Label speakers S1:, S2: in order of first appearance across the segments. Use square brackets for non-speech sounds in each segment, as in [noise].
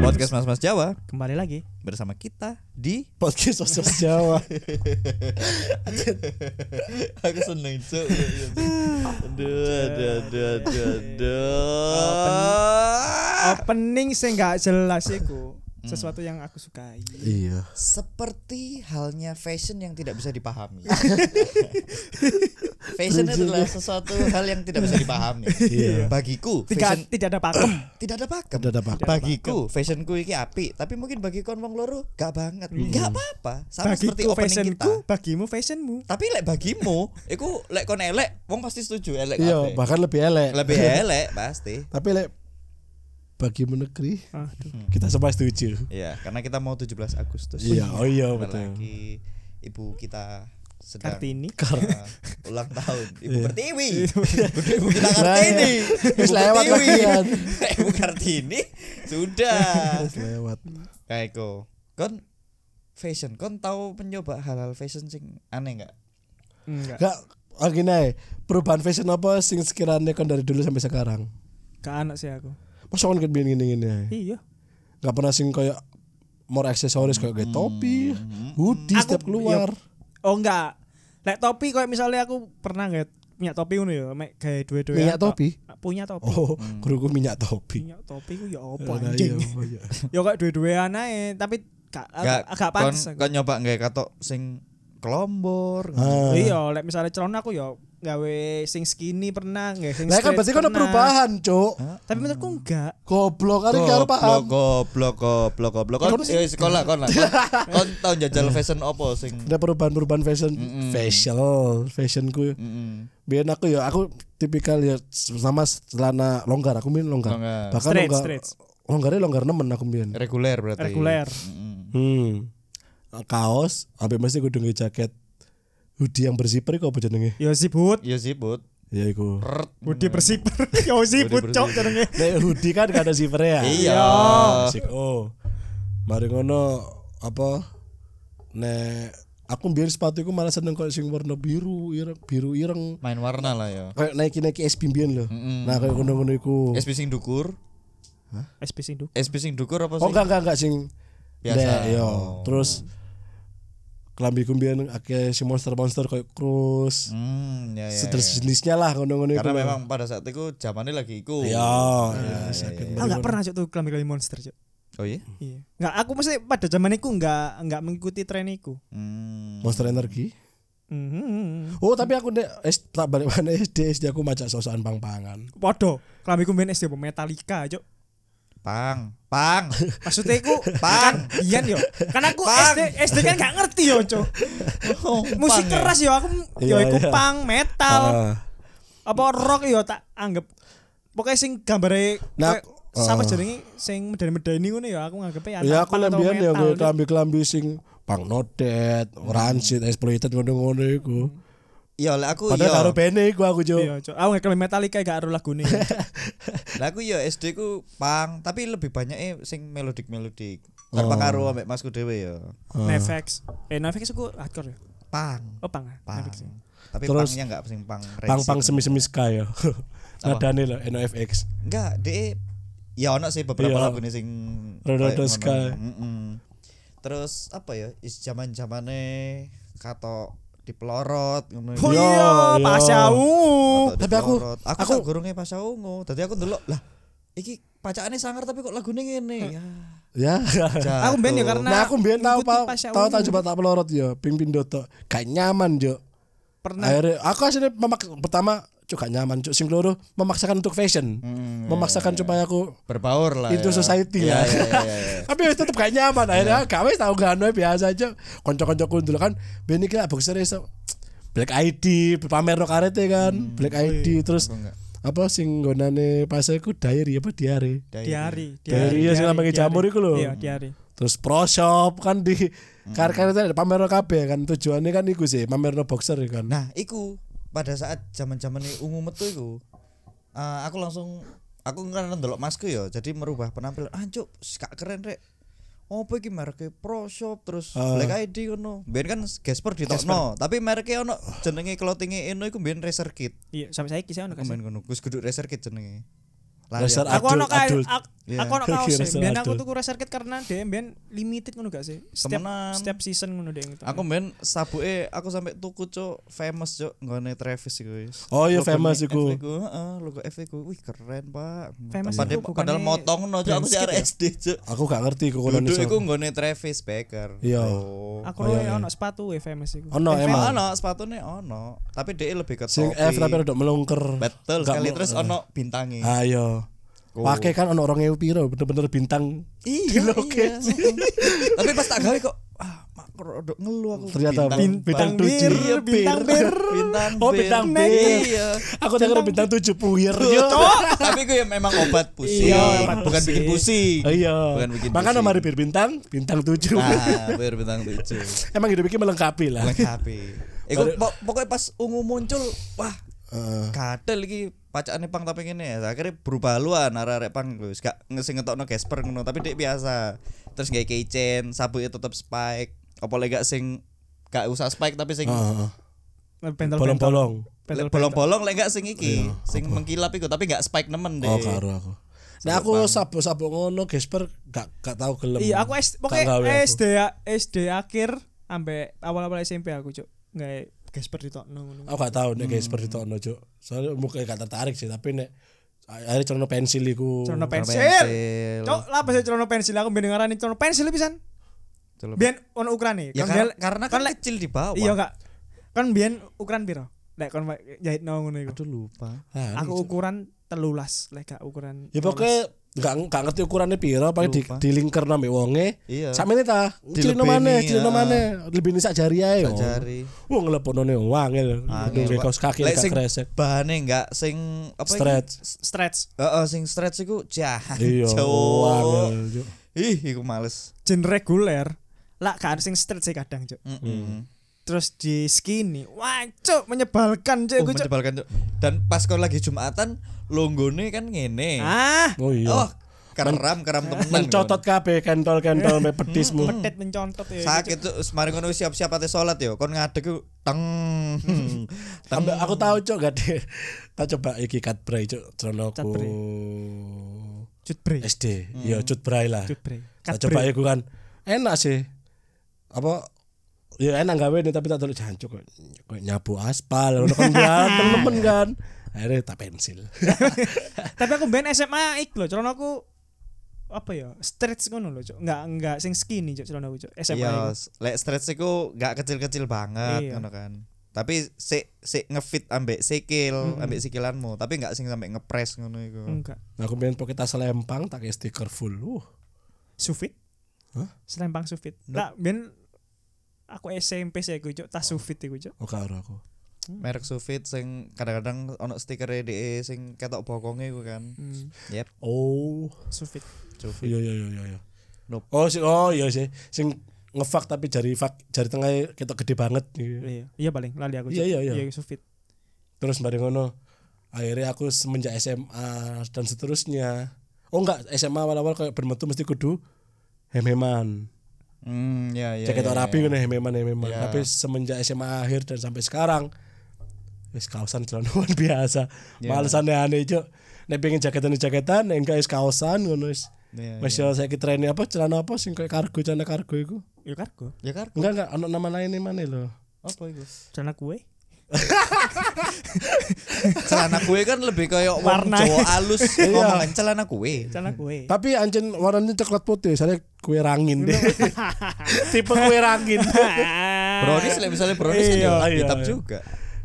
S1: podcast Mas Mas Jawa
S2: Kembali lagi
S1: bersama kita di
S3: podcast sosial Jawa
S1: Aku seneng cuy. Aduh, aduh, aduh, aduh, aduh.
S2: Opening sih nggak jelas iku. Sesuatu yang aku sukai.
S3: iya
S1: Seperti halnya fashion yang tidak bisa dipahami. fashion adalah sesuatu hal yang tidak bisa dipahami. Bagiku, fashion
S2: Tidak tidak [clears throat] ada pakem.
S1: tidak ada pakem.
S3: Tidak ada pakem.
S1: Bagiku, fashionku iki api, tapi mungkin bagi kon wong loro gak banget. Gak apa-apa. Sama seperti
S2: Bagiku
S1: opening kita.
S2: fashionku, bagimu fashionmu.
S1: Tapi lek bagimu, iku lek kon elek, wong pasti setuju elek
S3: iya
S1: kabeh.
S3: bahkan lebih elek [laughs]
S1: Lebih elek pasti.
S3: tapi elek bagi negeri
S2: Aduh.
S3: kita semua setuju
S1: Iya, karena kita mau 17 Agustus.
S3: iya oh iya betul
S1: Apalagi ibu kita sedang
S2: Kartini.
S1: uh, ulang
S3: [laughs]
S1: tahun Ibu Pertiwi. ibu kita Kartini.
S3: Lah, Iya. Wis lewat lagian.
S1: Nek [laughs] Ibu Kartini
S3: [laughs]
S1: sudah.
S3: lewat
S1: Kayak kau. Kon fashion, kon tahu mencoba hal-hal fashion sing aneh nggak?
S2: Enggak.
S3: gak oh gini ae. perubahan fashion apa sing sekiranya kan dari dulu sampai sekarang
S2: Ke anak sih aku.
S3: masa kan kayak gini gini ae?
S2: Iya.
S3: gak pernah sing kayak more aksesoris kayak, kayak topi
S1: Hmm,
S3: hoodie
S2: Aku-
S3: setiap keluar
S2: Oh enggak. Lek topi kayak misalnya aku pernah nggak punya topi ngono ya, mek gawe dua-dua.
S3: Minyak topi?
S2: Punya topi.
S3: oh
S1: Hmm.
S3: guruku minyak topi
S2: Punya topi ku ya apa
S3: Nah, iya,
S2: anjing.
S3: apa, iya.
S2: Ya kayak dua-duaan ae, tapi gak
S1: Nggak,
S2: agak
S1: kon,
S2: pantes. aku.
S1: kon nyoba nggak katok sing kelombor.
S3: Ah.
S2: Iya, lek misalnya celana aku ya gawe sing skinny pernah nggak sing
S3: Lah kan
S2: straight
S3: berarti kan ada
S2: pernah.
S3: perubahan, Cuk.
S1: Hmm.
S2: Tapi menurutku enggak.
S3: Goblok kan gak paham.
S1: goblok, goblok, goblok. Kon eh, sekolah kon lah. Kon- Kon tau jajal fashion opo sing.
S3: Ada perubahan-perubahan fashion, facial, fashionku.
S1: Mm-mm.
S3: Biar aku ya, aku tipikal ya sama celana longgar, aku main longgar.
S1: Longgar.
S3: Bahkan
S2: Straight,
S3: longgar,
S2: straight.
S3: longgarnya longgar nemen aku main.
S1: reguler berarti
S2: Reguler.
S1: Mm-mm.
S3: Hmm. Kaos, sampai mesti kudu nge jaket hoodie yang berziper iku apa jenenge?
S2: Ya sibut.
S1: iya sih bud
S3: Ya iku.
S1: Rrt.
S2: Budi bersiper. [laughs] Ya sibut
S1: Budi
S2: cok
S1: bersiper.
S2: jenenge.
S3: Nek hoodie kan gak ada zipper ya.
S1: iya
S3: Asik. Oh. Mari ngono apa nek aku biar sepatu iku malah seneng kok sing warna biru, ireng, biru ireng.
S1: main warna lah ya
S3: Kayak Nike-Nike SB mbiyen lho.
S1: Mm-mm.
S3: Nah, kayak ngono-ngono iku.
S1: SP sing dukur
S2: SP Sindu.
S1: SP sing dukur apa sih
S3: Oh, enggak enggak enggak sing
S1: Biasa.
S3: Nek, yo.
S1: Oh.
S3: Terus kelambi ku mbiyen akeh si monster-monster kayak Cruise.
S1: Hmm, ya, ya, ya.
S3: Terus jenisnya lah ngono-ngono iku.
S1: karena
S3: lho.
S1: memang pada saat itu zamannya lagi iku
S3: Ya, ya,
S1: ya,
S3: sakit.
S2: Ah enggak pernah cok tuh kelambi-kelambi monster cok.
S1: oh iya
S2: Iya. Enggak, aku mesti pada zaman iku enggak enggak mengikuti tren iku.
S1: Hmm.
S3: Monster energi.
S2: Mhm.
S3: Oh, tapi aku nek es- tak balik mana SD SD aku macak sosokan pang-pangan.
S2: Podo. Kelambiku main SD apa? Metallica cok.
S1: pang pang
S3: [laughs]
S2: Maksudnya iku
S1: [laughs] Pang.
S2: kan Ian yo. Kan aku
S1: Pang.
S2: SD SD kan gak ngerti yo cok.
S1: [laughs] Oh,
S2: Musik
S1: pang ya? Oh.
S2: keras yo aku yo
S3: Iya,
S2: iku
S3: iya.
S2: punk metal.
S3: Ah.
S2: apa rock yo tak anggap pokoknya sing gambare nah,
S3: Nah,
S2: sama
S3: ah.
S2: jenenge sing medeni-medeni ngono ya aku nganggepnya
S3: Ya
S2: anak
S3: aku
S2: punk atau
S3: lembian ya
S2: metal. kan.
S3: gue kelambi-kelambi sing pang nodet,
S1: Hmm.
S3: rancid, exploited ngono-ngono iku.
S1: iya lah aku iya
S3: Padahal karo bene iku aku jo.
S2: Iya, Cok. Aku ngekel Metallica gak aru
S3: [laughs]
S2: lagune.
S1: lah aku ya SD ku pang tapi lebih banyak eh sing melodik melodik
S3: Oh.
S1: tanpa karo ambek masku dewe ya
S3: Ah.
S2: Nefex. Eh Nefex aku hardcore ya.
S1: pang
S2: Oh, pang. ah.
S1: pang
S2: Nefex.
S1: tapi
S3: Terus-
S1: pangnya nggak sing pang
S3: Pang-pang
S1: racing.
S3: semi-semi sky ya. [laughs] Nadane lho NOFX.
S1: Enggak, de ya ono sih beberapa
S3: Iya.
S1: lagu nih sing
S3: Rodo
S1: kayak
S3: to
S1: ngono.
S3: Sky.
S1: Mm-mm. Terus apa ya? Is zaman-zamane kato dipelorot ngono. iku.
S2: Oh
S3: Yo,
S2: iya,
S3: yo.
S2: Pasha
S1: Katok
S2: Ungu.
S3: tapi aku-
S1: dipelorot. aku
S3: aku-
S1: sak gurunge Pasha Ungu. Dadi aku ndelok, lah iki pacakane sangar tapi kok lagune ngene. Ya.
S3: [laughs] Ya.
S2: Aku ben ya karena
S3: Nah aku mbiyen tau
S2: ngikuti
S3: tau
S2: Pasha
S3: tau
S2: Ungu.
S3: tau coba tak pelorot yo, ping-ping doto. Gak nyaman jo.
S2: pernah
S3: Akhirnya aku aslinya memak pertama cuk gak nyaman cuk sing loro memaksakan untuk fashion. Memaksakan supaya aku
S1: berbaur lah.
S3: Into
S1: ya.
S3: society
S1: Iya,
S3: lah.
S1: iya, iya, iya.
S3: tapi ya tetep gak nyaman akhirnya gak wis tau gak aneh, biasa aja konco-koncoku dulu kan ben iki lah boxer iso Black ID pamer no karete kan Black ID
S1: Aku
S3: terus
S1: Hmm, enggak.
S3: apa sing gonane pas aku diary apa diary
S1: Dari-
S2: diari,
S3: Diari, iya, sing lambangnya
S2: diari.
S3: jamur iku lho.
S2: Iya, diari.
S3: terus pro shop kan di
S1: Hmm.
S3: kar karete ada pamer no kabeh kan tujuannya kan iku sih pamer no boxer kan
S1: Nah, iku pada saat zaman-zaman ungu metu iku. eh, aku langsung aku kan ndelok masku ya, jadi merubah penampilan. Ancuk, gak keren rek. Opo iki mereknya Pro Shop terus Black ID ngono. Biyen kan Gasper ditokno, tapi mereknya ono jenenge clothinge Eno iku biyen Racer Kit.
S2: Iya, sampai saiki saya ono
S1: Aku
S2: kasih.
S1: main ngono, Gus kudu Racer Kit jenenge. Lah,
S3: Racer
S1: ya.
S3: Adult,
S2: Aku ono kae
S3: adult.
S2: ak-
S1: Iya.
S2: Aku ono kaos
S3: Kira-kira
S2: sih. Biyen aku
S3: satu.
S2: tuku Razer Kit karena DM biyen limited ngono gak sih? Setiap
S1: Temenan.
S2: setiap season ngono gitu. DM.
S1: Aku main sabuke aku sampai tuku cuk famous cuk nggone Travis iku wis.
S3: Oh iya,
S1: Logone
S3: Famous
S1: F
S3: iku.
S1: iku, heeh, logo F iku. Wih keren, Pak.
S2: Famous
S1: Padahal-
S2: iku
S1: padahal
S2: bukannya
S1: motong no cuk aku sih
S2: Brandskit
S1: arek
S2: ya?
S1: SD cuk.
S3: Aku gak ngerti kok
S1: Duduk
S3: iso.
S1: iku nggone Travis Baker.
S3: Iya.
S1: Bro.
S2: Aku
S3: Oh,
S2: roe
S3: iya, iya.
S2: ono sepatu eh famous iku.
S3: Ono
S2: Eh, famous.
S3: emang.
S1: Ono sepatune ono, tapi dia lebih ke
S3: Sing
S1: topi.
S3: F tapi rodok melungker.
S1: Betul
S3: Gak Eh.
S1: sekali
S3: mau- Ah.
S1: terus ono bintangi.
S3: Ayo.
S1: Cool.
S3: Pakai kan ono orang piro bener-bener bintang.
S1: Iya, iya. Tapi pas tak gawe kok ah mak rodok ngelu aku.
S3: Ternyata
S2: Bin- bintang bir,
S1: Iya,
S2: bintang bir.
S1: Bintang
S3: Oh, bintang
S1: bir.
S3: bir.
S1: Iya.
S3: Aku tak kira bintang 7 puyer. yo.
S1: Tapi gue memang obat Iya, pusing,
S2: Iya, obat
S1: bukan
S2: pusing.
S1: bikin pusing.
S3: Iya.
S1: Bukan bikin
S3: Makan
S1: pusing.
S3: nomor bir bintang, bintang 7.
S1: Nah, biar bintang tujuh.
S3: [laughs] Emang hidup iki melengkapi lah.
S1: Lengkapi. Iku po- pokoknya pas ungu muncul, wah,
S3: Heeh.
S1: kadel iki pacakane pang tapi ngene ya. Akhirnya berubah haluan arek-arek pang wis gak ngesing ngetokno gesper ngono, tapi dek biasa. Terus gawe keychain, sabuke tetep spike. Apa lagi gak sing gak usah spike tapi sing
S3: Heeh.
S2: Pentel
S3: Bolong-bolong.
S1: Lek
S2: Pentel bolong.
S1: bolong-bolong lek gak sing iki, sing mengkilap iku tapi gak spike nemen deh.
S3: Iya, Oh, karo aku. Nah aku sabu-sabu ngono gesper gak gak tau gelem.
S2: Iya, aku S,
S3: Gak gawe
S2: pokoknya
S3: aku.
S2: SD SD akhir sampai awal-awal SMP aku, Cuk. Enggak gesper ditokno ngono.
S3: Aku gak tau nek gesper ditokno, Cuk. Soale muka gak tertarik sih, tapi nek akhirnya celana pensil iku.
S2: Celana pensil.
S1: Pensil.
S2: Cok, lah pas celana pensil aku ben ngarani celana pensil pisan.
S1: Celana-
S2: Biyen ono ukurane.
S1: Ya
S2: Kan
S1: kar-
S2: biyen-
S1: karena kan kecil di bawah.
S2: Iya enggak. Kan biyen ukuran piro? Lek kon jahit no ngono iku.
S1: Aduh lupa.
S3: Ah,
S2: Aku ukuran telulas, lek gak ukuran.
S3: Ya pokoknya gak, gak ngerti ukurannya piro paling di,
S1: Lupa.
S3: di lingker nami wonge
S1: Iya.
S3: Sak menit ta Cilino
S1: Dilebeni,
S3: mana Cilino
S1: ya.
S3: mana Lebih ini sak jari aja
S1: Sak jari.
S3: Wah ngelepon nih
S1: Angel,
S3: wangil Nunggu
S1: Pak.
S3: kaos kaki
S1: Lek
S3: gak
S1: sing
S3: kresek
S1: Bahane enggak sing apa iki?
S3: Stretch
S2: stretch
S1: Heeh, sing stretch iku jahat. [laughs]
S3: Iya
S1: Cuk.
S3: Wangil
S1: Ih, iku males.
S2: jen reguler. Lak gak ada sing stretch sih kadang, Cuk.
S1: Mm-mm.
S3: Mm.
S2: Terus di skinny. Wah, Cuk, menyebalkan, Cuk.
S1: Oh,
S2: Iku, Cuk.
S1: menyebalkan Cuk. Dan pas kau lagi Jumatan, longgone kan ngene.
S2: Ah,
S3: Oh
S1: Oh,
S3: iya
S1: keram keram temen.
S3: Mencotot kabeh kentol-kentol me
S1: [laughs]
S3: pedismu
S2: pedet mencontot ya.
S1: sakit tuh semari ngono siap-siap ate salat yo kon ngadeg ku
S3: [laughs]
S1: teng teng
S3: Tambah aku tahu cok gak deh Tak coba iki cut bray cok
S2: Cut
S3: Celonoku
S2: bray. Cut bre.
S3: SD Iya cut bray lah
S2: Cut bre.
S3: Tak
S2: Cut
S3: coba
S2: bre.
S3: iku kan enak sih apa ya enak gawe nih tapi tak dulu jancuk kok kok nyapu aspal ngono kan ganteng temen kan akhirnya tak pensil
S2: Tapi aku ben SMA ik lho, celana aku apa ya? Stretch ngono lho, Cuk. Enggak enggak sing skinny, Cuk, celana aku, Cuk. SMA. iku.
S1: Iya, lek stretch iku gak kecil-kecil banget
S2: Iya.
S1: ngono kan. Tapi sik sik ngefit ambek sikil, ambek sikilanmu, tapi gak sing sampai ngepres ngono iku.
S3: Mm.
S2: Enggak.
S3: Nah, aku pengen pakai tas lempang tak kayak stiker full uh
S2: Sufit?
S3: Hah?
S2: Selempang sufit. Lah, ben aku SMP sih aku, Cuk, tas sufit iku, Cuk.
S3: oh karo aku
S1: Merek Sufit sing kadang-kadang ono stikere dhek sing ketok bokonge iku kan.
S2: Hmm,
S1: Yep,
S3: oh
S2: sufit.
S1: Sufit.
S3: iya iya iya iya, iya
S1: Nope.
S3: oh sih oh iya sih sing ngefak tapi jari fak jari tengah kita gede banget gitu.
S2: Iya, iya paling lali aku.
S3: Iya,
S2: Cuk.
S3: iya, iya.
S2: sufit.
S3: terus bareng ngono akhirnya aku semenjak SMA dan seterusnya oh enggak SMA awal-awal kayak bermetu mesti kudu hem-heman
S1: Hmm, ya ya.
S3: jaket
S1: ya,
S3: orang rapi
S1: ya.
S3: kan hememan hememan
S1: Ya.
S3: tapi semenjak SMA akhir dan sampai sekarang wis kaosan celanoan [laughs] biasa
S1: Ya.
S3: malesan aneh cuk nek pengen jaketan jaketan nek enggak wis kaosan ngono wis
S1: Ya, ya.
S3: masih saya kita trennya apa celana apa sing kayak kargo celana kargo itu
S2: Yo kargo.
S1: Ya kan
S3: enggak enggak ono nama lain mana lho
S1: apa iku?
S2: Celana kue.
S1: celana kue kan lebih kayak warna
S2: Warna.
S1: Jawa alus
S3: [laughs] Iya.
S1: ngomongan celana kue.
S2: Celana kue.
S3: tapi anjen warnanya coklat putih saya kue rangin deh tipe kue
S2: [laughs]
S3: rangin
S1: Brownies lah misalnya brownies kan
S3: Iya,
S1: ya
S3: iya,
S1: hitam
S3: iya.
S1: juga.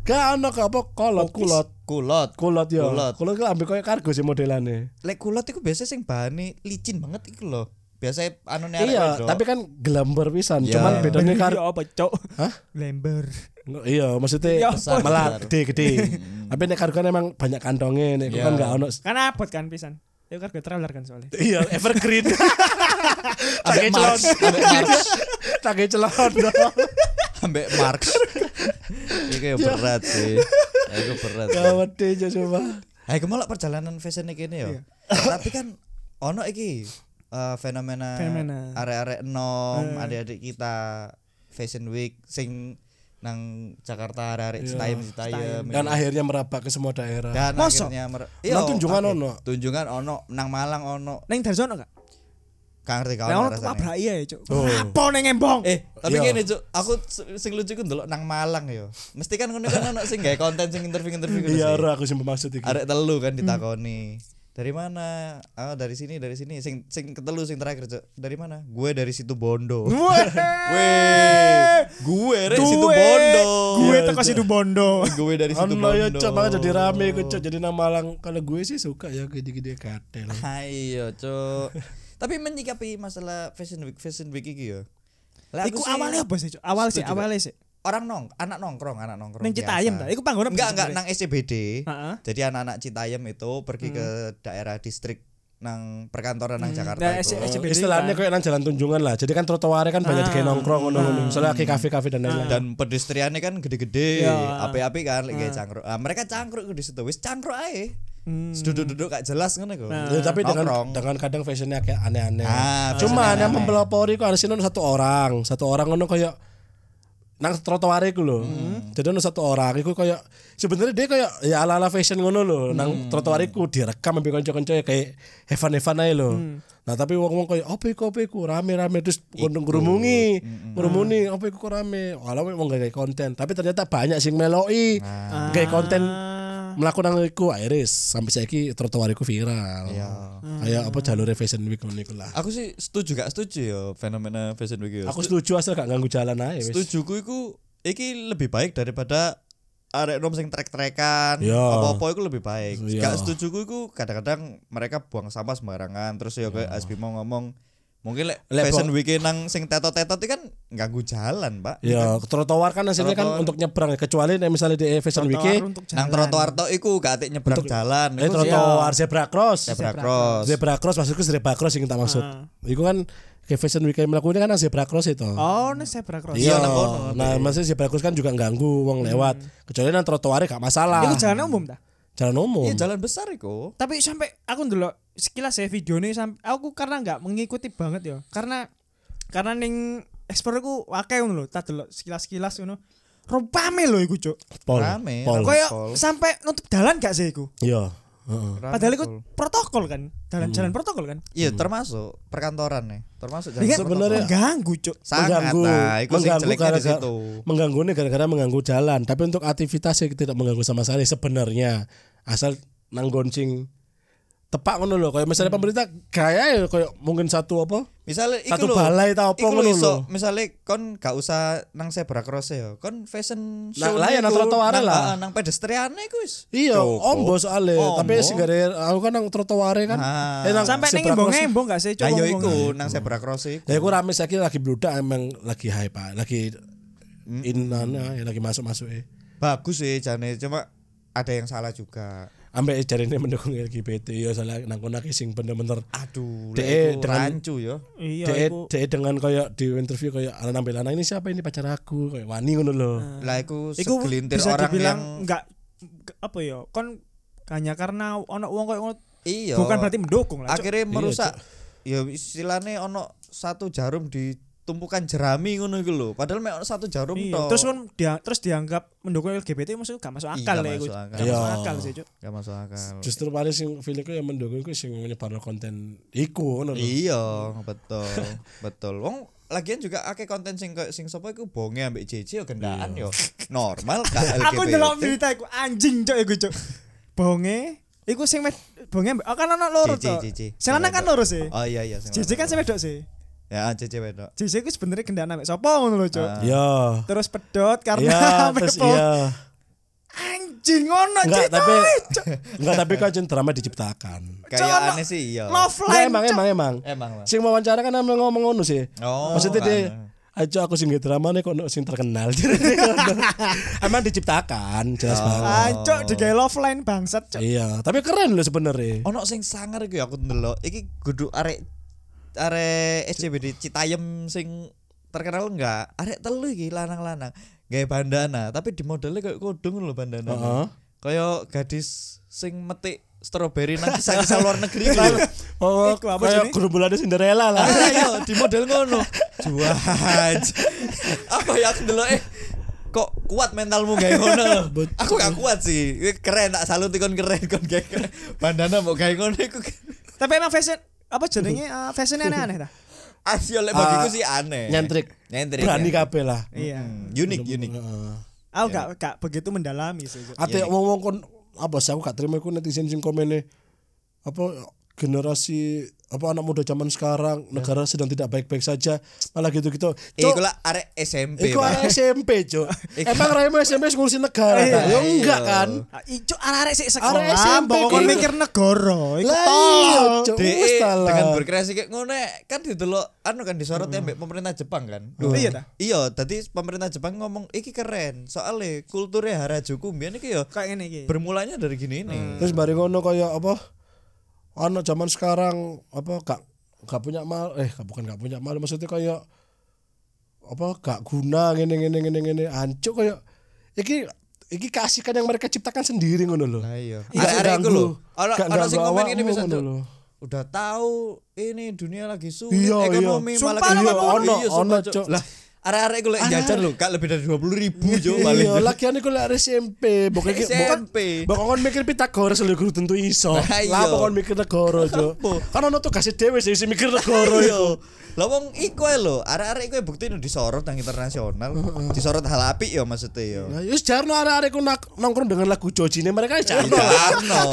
S3: gak ono kayak apa kolot kulot
S1: Kulot.
S3: kulot ya
S1: Kulot.
S3: kulot kan ambil kayak kargo sih modelannya
S1: Lek kulot itu biasanya sing bahane licin banget iku loh. Biasanya anu nek
S3: iya tapi kan gelambar pisan
S1: Ya.
S3: cuman bedanya
S2: Iya,
S3: kargo
S2: apa, Cuk?
S3: Hah?
S2: Lember.
S3: Nggak, Iya, maksudnya
S2: Ya,
S3: besar,
S1: apa?
S3: malah
S1: Besar. Hmm.
S3: gede-gede. Tapi nek kargo kan emang banyak kantongnya, nek aku kan
S1: Iya.
S3: enggak ono.
S2: Kan abot kan pisan. Yo kargo traveler kan soalnya.
S3: Iya,
S1: [laughs]
S3: evergreen.
S1: ambek
S3: Pakai celon,
S1: Marx, ambek Marx,
S3: [laughs] pakai celon.
S1: [laughs] ambek
S3: [laughs]
S1: Marx.
S3: Iya.
S1: Iku ya berat sih. Iku berat. sih.
S3: Gawat deh ya coba.
S1: Hai kemulak perjalanan fashion kene
S3: Iya.
S1: yo. Tapi kan ono iki eh, fenomena
S2: Fenomena.
S3: Eh.
S1: arek-arek enom, adik-adik kita fashion week sing nang Jakarta hari-hari Citayam Citayam
S3: Iya. dan Kan akhirnya meraba ke semua daerah
S1: dan
S2: Mosok?
S1: akhirnya mer-
S3: Nang tunjungan
S1: kabeh.
S3: ono.
S1: tunjungan ono nang Malang ono
S2: Neng dari sono gak?
S1: gak ngerti kawan
S2: Neng ono
S1: rasanya.
S2: tabrak iya ya, Cuk.
S3: Oh.
S2: Apa neng embong?
S1: Eh, tapi
S3: Iya.
S1: gini Cuk, aku s- sing lucu ku ndelok nang Malang yo. Mesti kan ngono kan ono sing gawe konten sing interview-interview ngono
S3: iya
S1: gitu sih.
S3: Ra, aku sih bermaksud iki
S1: Arek telu
S2: Hmm.
S1: kan ditakoni. Dari mana? Ah, dari sini, dari sini. Sing sing ketelu sing terakhir, Cuk. Dari mana? Gue dari situ Bondo. Weh, gue dari situ Bondo. Iya,
S2: Gue Kan teko situ bondo.
S1: Gue dari situ
S3: Ono ya
S1: Bondo.
S3: cok malah jadi rame iku cok jadi nama Malang kalau gue sih suka ya gede-gede katel
S1: Ayo, iya, Cuk. Tapi menyikapi masalah fashion week, fashion week iki yo. Lah, aku
S2: Iku
S1: sih-
S2: awalnya apa sih, Cuk? Awal sih,
S1: Setuju,
S2: awalnya sih.
S1: orang nong, anak nongkrong, anak nongkrong.
S2: Neng Citayam
S1: biasa.
S2: ta. Iku panggonan
S1: enggak
S2: apa
S1: enggak
S2: sebenarnya?
S1: nang SCBD.
S2: Heeh. Hmm.
S1: Jadi anak-anak Citayam itu pergi ke daerah distrik nang perkantoran nang Jakarta
S2: Nah,
S1: itu.
S2: SC- SCBD
S3: Oh, istilahnya
S2: kan.
S3: kayak nang jalan tunjungan lah jadi kan trotoarnya kan banyak kayak nongkrong ngono-ngono misalnya kayak kafe-kafe dan lain-lain
S1: Dan pedestriannya kan gede-gede,
S2: Ya.
S1: api-api kan lagi kayak cangkruk. Ah, mereka cangkruk di situ, wis cangkruk ae.
S2: Hmm.
S1: Duduk-duduk gak jelas ngono kok.
S2: Nah.
S3: Ya, tapi dengan
S1: Nongkrong.
S3: dengan kadang fashionnya kayak aneh-aneh.
S1: Ah,
S3: Nah, Cuman
S1: fashionnya
S3: yang
S1: aneh.
S3: mempelopori kok harusnya ono satu orang, satu orang ngono kayak nang trotoar iku lho.
S1: Hmm.
S3: Jadi ono satu orang iku kayak sebenarnya dia kayak ya ala-ala fashion ngono lho nang
S1: Hmm.
S3: trotoar iku direkam ambek kanca-kanca ya kayak hevan-hevan ae lho.
S1: Hmm.
S3: Nah, tapi wong-wong kayak opo iku opo iku rame-rame terus kondong kerumungi,
S1: Hmm.
S3: kerumuni opo iku kok rame. Walau wong gak kayak konten, tapi ternyata banyak sing meloi.
S1: Nah.
S3: Kayak konten
S1: Ah.
S3: melakukan nang iku Iris sampai saiki trotoar iku viral.
S1: Iya.
S3: Kayak apa jalur fashion week ngono iku lah.
S1: Aku sih setuju gak setuju ya fenomena fashion week yo.
S3: Aku setuju asal gak ganggu jalan ae wis.
S1: setuju ku iku iki lebih baik daripada arek nom sing trek-trekan
S3: Ya.
S1: apa-apa iku lebih baik.
S3: Ya.
S1: Gak setuju ku iku kadang-kadang mereka buang sampah sembarangan terus ya kayak Asbi mau ngomong mungkin lek
S3: Lek
S1: fashion week nang sing tetot-tetot iki kan ganggu jalan, Pak.
S3: Ya, trotoar kan hasilnya kan untuk nyebrang ya. kecuali nek misalnya di fashion week
S2: Trotoar untuk
S1: Nang
S2: jalan.
S1: trotoar tok iku gak atik nyebrang jalan.
S3: eh
S1: Iku
S3: trotoar zebra cross.
S1: zebra cross. Ah.
S3: Zebra cross maksudku zebra cross yang tak maksud. Iku kan kayak fashion week yang melakukan kan nang zebra cross itu.
S2: Oh, neng zebra cross.
S1: Iya,
S3: Iya,
S1: nang kono. Hmm.
S3: nah maksudnya zebra cross kan juga ganggu wong lewat. Kecuali nang trotoarnya gak masalah.
S2: Iku jalan umum ta.
S3: Jalan umum.
S1: Iya, jalan besar iku.
S2: Tapi sampai aku ndelok sekilas ya videonya sampai aku karena nggak mengikuti banget ya. Karena karena neng explore ku akeh ngono lho, tak delok sekilas-sekilas ngono. Rupame lho iku, Cuk.
S3: Pol.
S1: Rame.
S3: Pol.
S1: Kok- ya?
S2: Kayak sampai nutup dalan gak sih iku?
S3: Iya. heeh.
S2: Padahal iku protokol kan. Dalan jalan protokol kan.
S1: iya
S3: Hmm.
S1: termasuk perkantoran nih, termasuk jalan
S2: Dengan
S1: protokol.
S3: sebenarnya-
S2: mengganggu, Cuk.
S1: sangat
S3: mengganggu
S1: nah, iku sing jeleknya
S3: mengganggu
S1: di
S3: gara-gara
S1: situ.
S3: mengganggu ini gara-gara mengganggu jalan tapi untuk aktivitas sih tidak mengganggu sama sekali sebenarnya asal nanggon sing tepak ngono lho
S1: Hmm.
S3: kayak misalnya pemerintah gaya ya kayak mungkin satu apa
S1: Misalnya iku
S3: Satu
S1: lho,
S3: balai ta apa
S1: iku lho
S3: ngono
S1: iso,
S3: lho.
S1: Misalnya kon gak usah nang zebra cross ya, kon fashion show.
S3: lah ya nang
S1: iku,
S3: trotoar
S1: nang-
S3: lah.
S1: ah, Nang pedestrian iku wis.
S3: iya ombo soalnya
S1: Ombo.
S3: tapi sing gara aku kan nang trotoare kan
S1: Ah.
S3: eh, nang
S2: Sampai neng
S3: zebra cross.
S2: embong-embong gak sih, Cuk?
S1: Lah yo
S2: wong-wong.
S1: ya iku nang zebra cross e iku.
S3: ya aku rame saiki lagi bludak emang lagi hype ah. lagi
S1: Hmm.
S3: inana ya lagi masuk-masuk eh
S1: Bagus sih jane, cuma ada yang salah juga.
S3: ambek jarine mendukung LGBT ya salah nang kono ki sing bener-bener
S1: Aduh, lek
S3: Dee
S1: iku
S3: dengan-
S1: rancu yo.
S2: Iya,
S3: Dek
S2: iku.
S3: dek dengan kayak di interview kayak anak nampil anak ini siapa ini pacar aku kayak wani ngono loh.
S2: Nah.
S1: Lah iku
S2: Iku
S1: segelintir
S2: bisa
S1: orang
S2: dibilang
S1: yang
S2: nggak apa ya? Kon hanya karena ono wong koyo ngono
S1: iya.
S2: bukan berarti mendukung lah. Cuk.
S1: akhirnya
S3: Iya,
S1: merusak. Ya istilahnya ono satu jarum ditumpukan jerami ngono iku lho. Padahal mek ono satu jarum
S2: Iya.
S1: tok.
S2: Terus kan dia terus dianggap mendukung LGBT maksudnya gak masuk
S1: Iya,
S2: akal lah
S1: masuk
S2: iku.
S1: akal.
S2: Gak
S3: Iya.
S2: masuk akal sih, Cuk.
S1: Gak masuk akal.
S3: Justru paling sing feelingku yang mendukung ku sing nyebarno konten iku ngono lho.
S1: Iya, betul. betul. Wong lagian juga akeh konten sing kayak sing sapa iku bonge ambek JJ yo gendaan yo. Normal gak LGBT.
S2: Aku ndelok berita iku anjing Cuk iku, Cuk. Bonge iku sing med- bonge mbak- oh, kan ono loro
S1: JJ
S2: Cuk.
S1: JJ.
S2: Sing lanang kan e? loro sih.
S1: Oh iya iya sing
S2: JJ kan sing
S1: lanang.
S2: wedok sih.
S1: Ya JJ wedok.
S2: JJ iku sebenarnya gendaan ambek sapa ngono lho, Cuk.
S3: Iya.
S2: Terus pedot
S3: Iya,
S2: [laughs] karena ambek
S3: terus
S2: bo-
S3: iya.
S2: anjing ngono
S3: Enggak, tapi
S2: ceritanya, Cuk.
S3: enggak tapi kan jen drama diciptakan.
S2: Cok,
S1: Kayak
S2: no-
S1: aneh sih iya.
S2: Love
S3: Enggak,
S2: line.
S3: emang
S2: Cuk.
S3: emang emang.
S1: Emang lah.
S3: Sing wawancara kan emang ngomong ngono sih.
S1: Oh.
S3: Maksudnya
S1: kan.
S3: dia Aja aku sing nggak drama nih kok no sing terkenal. [laughs] Emang diciptakan
S1: Oh.
S3: jelas banget.
S2: Ancok Ah, digawe love line bangsat cok.
S3: Iya, tapi keren loh sebenarnya.
S1: ono sing sangar iki ya, aku ndelok. Iki kudu arek arek SCBD Citayam sing terkenal enggak? Arek telu iki lanang-lanang gawe bandana, tapi di modelnya kayak kodong lho bandana.
S3: Heeh.
S1: Kayak gadis sing metik stroberi nang kisah-kisah luar negeri gitu.
S3: Oh,
S2: Iku apa
S3: kayak
S2: jenis?
S3: gerombolannya Cinderella
S2: [laughs]
S3: lah.
S1: iya, Ayo di model ngono. Juaj. Apa ya aku ndelok eh kok kuat mentalmu kayak ngono lho. Aku gak kuat sih. Keren tak salut kon keren kon kayak keren. Bandana mau kayak ngono iku.
S2: Tapi emang fashion apa jenenge eh, fashionnya aneh-aneh ta?
S1: Asli oleh bagiku
S3: Ah,
S1: sih aneh.
S3: nyentrik.
S1: Nyentrik. ya.
S3: berani kabeh lah
S2: Iya.
S1: Hmm, Unik unik. Iya,
S3: Heeh.
S2: Aku gak gak begitu mendalami sih. Cuk.
S3: Ate wong wong kon apa sih aku gak terima iku netizen sing komene apa generasi apa anak muda zaman sekarang negara sedang tidak baik-baik saja malah gitu-gitu.
S1: Iya. Eh, Iku
S3: Cok,
S1: lah arek SMP,
S3: iku
S1: Pak.
S3: arek
S1: [laughs]
S3: SMP, Cok. Emang raimu SMP ngurusin negara
S1: Iya.
S3: ta? Ya enggak kan.
S2: Ah, Ijo arek sik
S3: Arek
S2: sekolah,
S3: SMP,
S2: mbok kon
S3: Cuk.
S2: mikir negara, iku
S3: Lah iya,
S2: tolol.
S3: Cok. Wis
S1: DE
S3: ta lah.
S1: dengan berkreasi kayak ngono kan didelok anu kan disorotnya
S3: Hmm.
S1: ambek pemerintah Jepang kan.
S2: Duh.
S3: Oh.
S2: Iya ta?
S1: Iya, tadi pemerintah Jepang ngomong iki keren. Soalnya kulturnya Harajuku mbiyen iki ya
S2: Kayak ngene iki.
S1: bermulanya dari gini ini.
S3: Terus bari ngono kaya apa anak zaman sekarang apa gak gak punya mal eh gak- bukan gak punya mal maksudnya kaya apa gak guna ngene ngene ngene ngene hancur kaya iki iki keasikan yang mereka ciptakan sendiri ngono lho.
S1: Lah iya.
S3: Iya,
S1: Arek-arek iku
S3: ganggu.
S1: lho. Ana
S3: Gak
S1: ana sing
S3: ganggu
S1: komen
S3: awakmu
S1: ini bisa
S3: ngono
S1: tuh.
S3: lho.
S1: Udah tahu ini dunia lagi sulit
S3: Iya, iya.
S1: ekonomi
S2: Sumpah,
S1: malah
S2: iya,
S1: ekonomi.
S3: ono,
S1: Iya, sumpah,
S3: ono,
S1: Cuk.
S3: Cuk.
S1: Lah arek-arek iku lek jajan lho, gak lebih dari 20 ribu Cuk paling.
S3: Iya,
S1: [laughs]
S3: lakian iku lek SMP, bokok iki
S1: SMP.
S3: bokok kon mikir Pitagoras lho guru tentu iso.
S1: Lah iya.
S3: Lah bokok kon mikir negara jo. Kan ono tugas dhewe sing sing mikir negara
S1: Iya.
S3: iku.
S1: Lah wong iku ae lho, arek-arek iku bukti disorot nang internasional. Disorot hal apik ya maksudnya ya.
S3: Nah, yus jarno arek-arek ku nak- nongkrong dengan lagu Jojine mereka jarno.
S1: Jarno.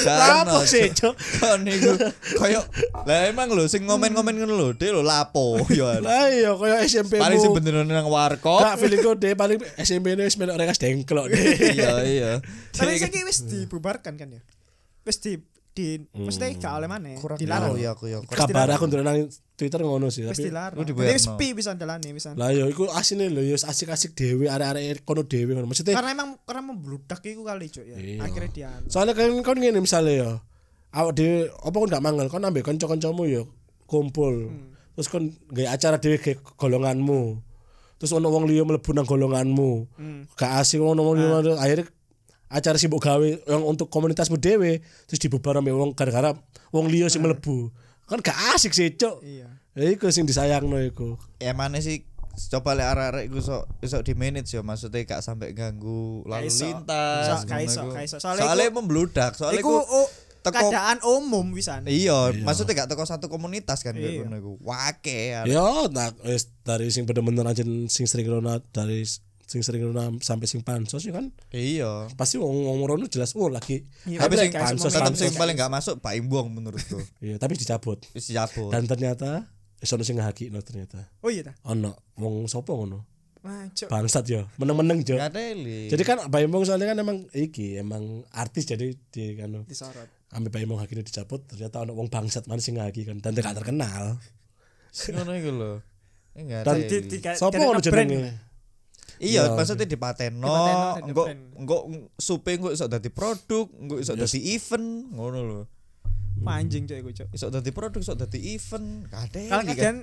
S1: Jarno.
S3: Lapo sih, Cuk?
S1: Kon iku koyo lah emang lho sing ngomen-ngomen ngono lho, dhek lho lapo ya.
S3: Lah iya kaya SMP
S1: Paling sing
S3: mu.
S1: beneran nang warkop.
S3: Gak feeling ku deh paling SMP ne wis melok rekas dengklok deh.
S1: [laughs] Iya, iya.
S2: Tapi
S1: Dhek-
S2: saiki wis dibubarkan kan ya. Wis di di mesti gak oleh maneh.
S1: kurang
S2: Dilarang.
S1: ya aku ya. kurang.
S3: Kabar aku ndelok nang Twitter ngono sih
S2: Wis
S3: tapi
S2: dilarang.
S1: Lu
S2: Jadi
S1: dibayarno.
S2: wis pi bisa dalane bisa.
S3: lah yo iku asine lho yo asik-asik dhewe arek-arek kono dhewe ngono. Maksudnya
S2: Karena emang karena membludak iku kali cuk ya. Akhirnya dia
S3: soalnya kan kon ngene misale yo awak dhewe apa kon gak manggal kon ambek kanca-kancamu yo kumpul. Terus kon gawe acara dhewe gawe golonganmu. Terus ono wong liya mlebu nang golonganmu. Gak asik ono wong liya mlebu. akhirnya acara sibuk gawe yang untuk komunitasmu dhewe terus dibubar ambek wong gara-gara wong liya sing mlebu. Kan gak asik sih, Cuk.
S2: Iya.
S3: Ya iku sing disayangno iku.
S1: ya mana sih coba lek arek-arek iku sok iso di manage ya maksudnya gak sampai ganggu lalu
S2: iso.
S1: lintas.
S2: Iso, gak
S1: ngono
S2: iso,
S1: iku.
S2: gak iso. Soalnya
S1: Soalnya, membludak, soalnya
S2: Iku
S1: iku
S2: oh,
S1: teko
S2: keadaan umum bisa.
S1: Iya, maksudnya gak teko satu komunitas kan kayak
S2: Iya.
S1: ngono iku. Wake ya.
S3: Yo, nah, wis dari sing bener-bener aja sing sering rona dari sing sering rona sampai sing pansos ya kan
S1: Iya.
S3: pasti wong wong rono jelas oh lagi
S2: Iya,
S1: Tapi
S2: Tapi
S1: sing
S2: gak iso
S1: pansos
S2: momen.
S1: tetep sing paling gak masuk Pak Imbuang menurutku.
S3: Iya, tapi dicabut
S1: Wis jabut.
S3: dan ternyata wis ono sing ngehakino ternyata
S2: Oh iya ta.
S3: ono wong sapa ngono
S2: Wah, cuk.
S3: bangsat yo meneng-meneng jo
S2: Iya.
S1: Ngateli.
S3: jadi kan Baimong soalnya kan emang iki emang artis jadi di kan
S2: Disorot.
S3: ambil Baimong hakino dicabut ternyata ono wong bangsat mana sing ngehaki kan dan gak terkenal
S1: ngono iku lho. Enggak
S3: Dan
S2: Di, di, kayak-
S3: sapa
S2: kayak
S3: ngono
S2: nge-brand.
S3: jenenge
S1: Iya, maksudnya dipatenno,
S2: Dipatenno, di
S1: engko
S2: depan.
S1: engko supe engko iso dadi produk, engko iso dadi event, ngono lho.
S2: Wah, Anjing cuk iku cuk.
S1: Iso dadi produk, iso dadi event, kadeli
S2: Kalau
S1: kan.
S2: keadaan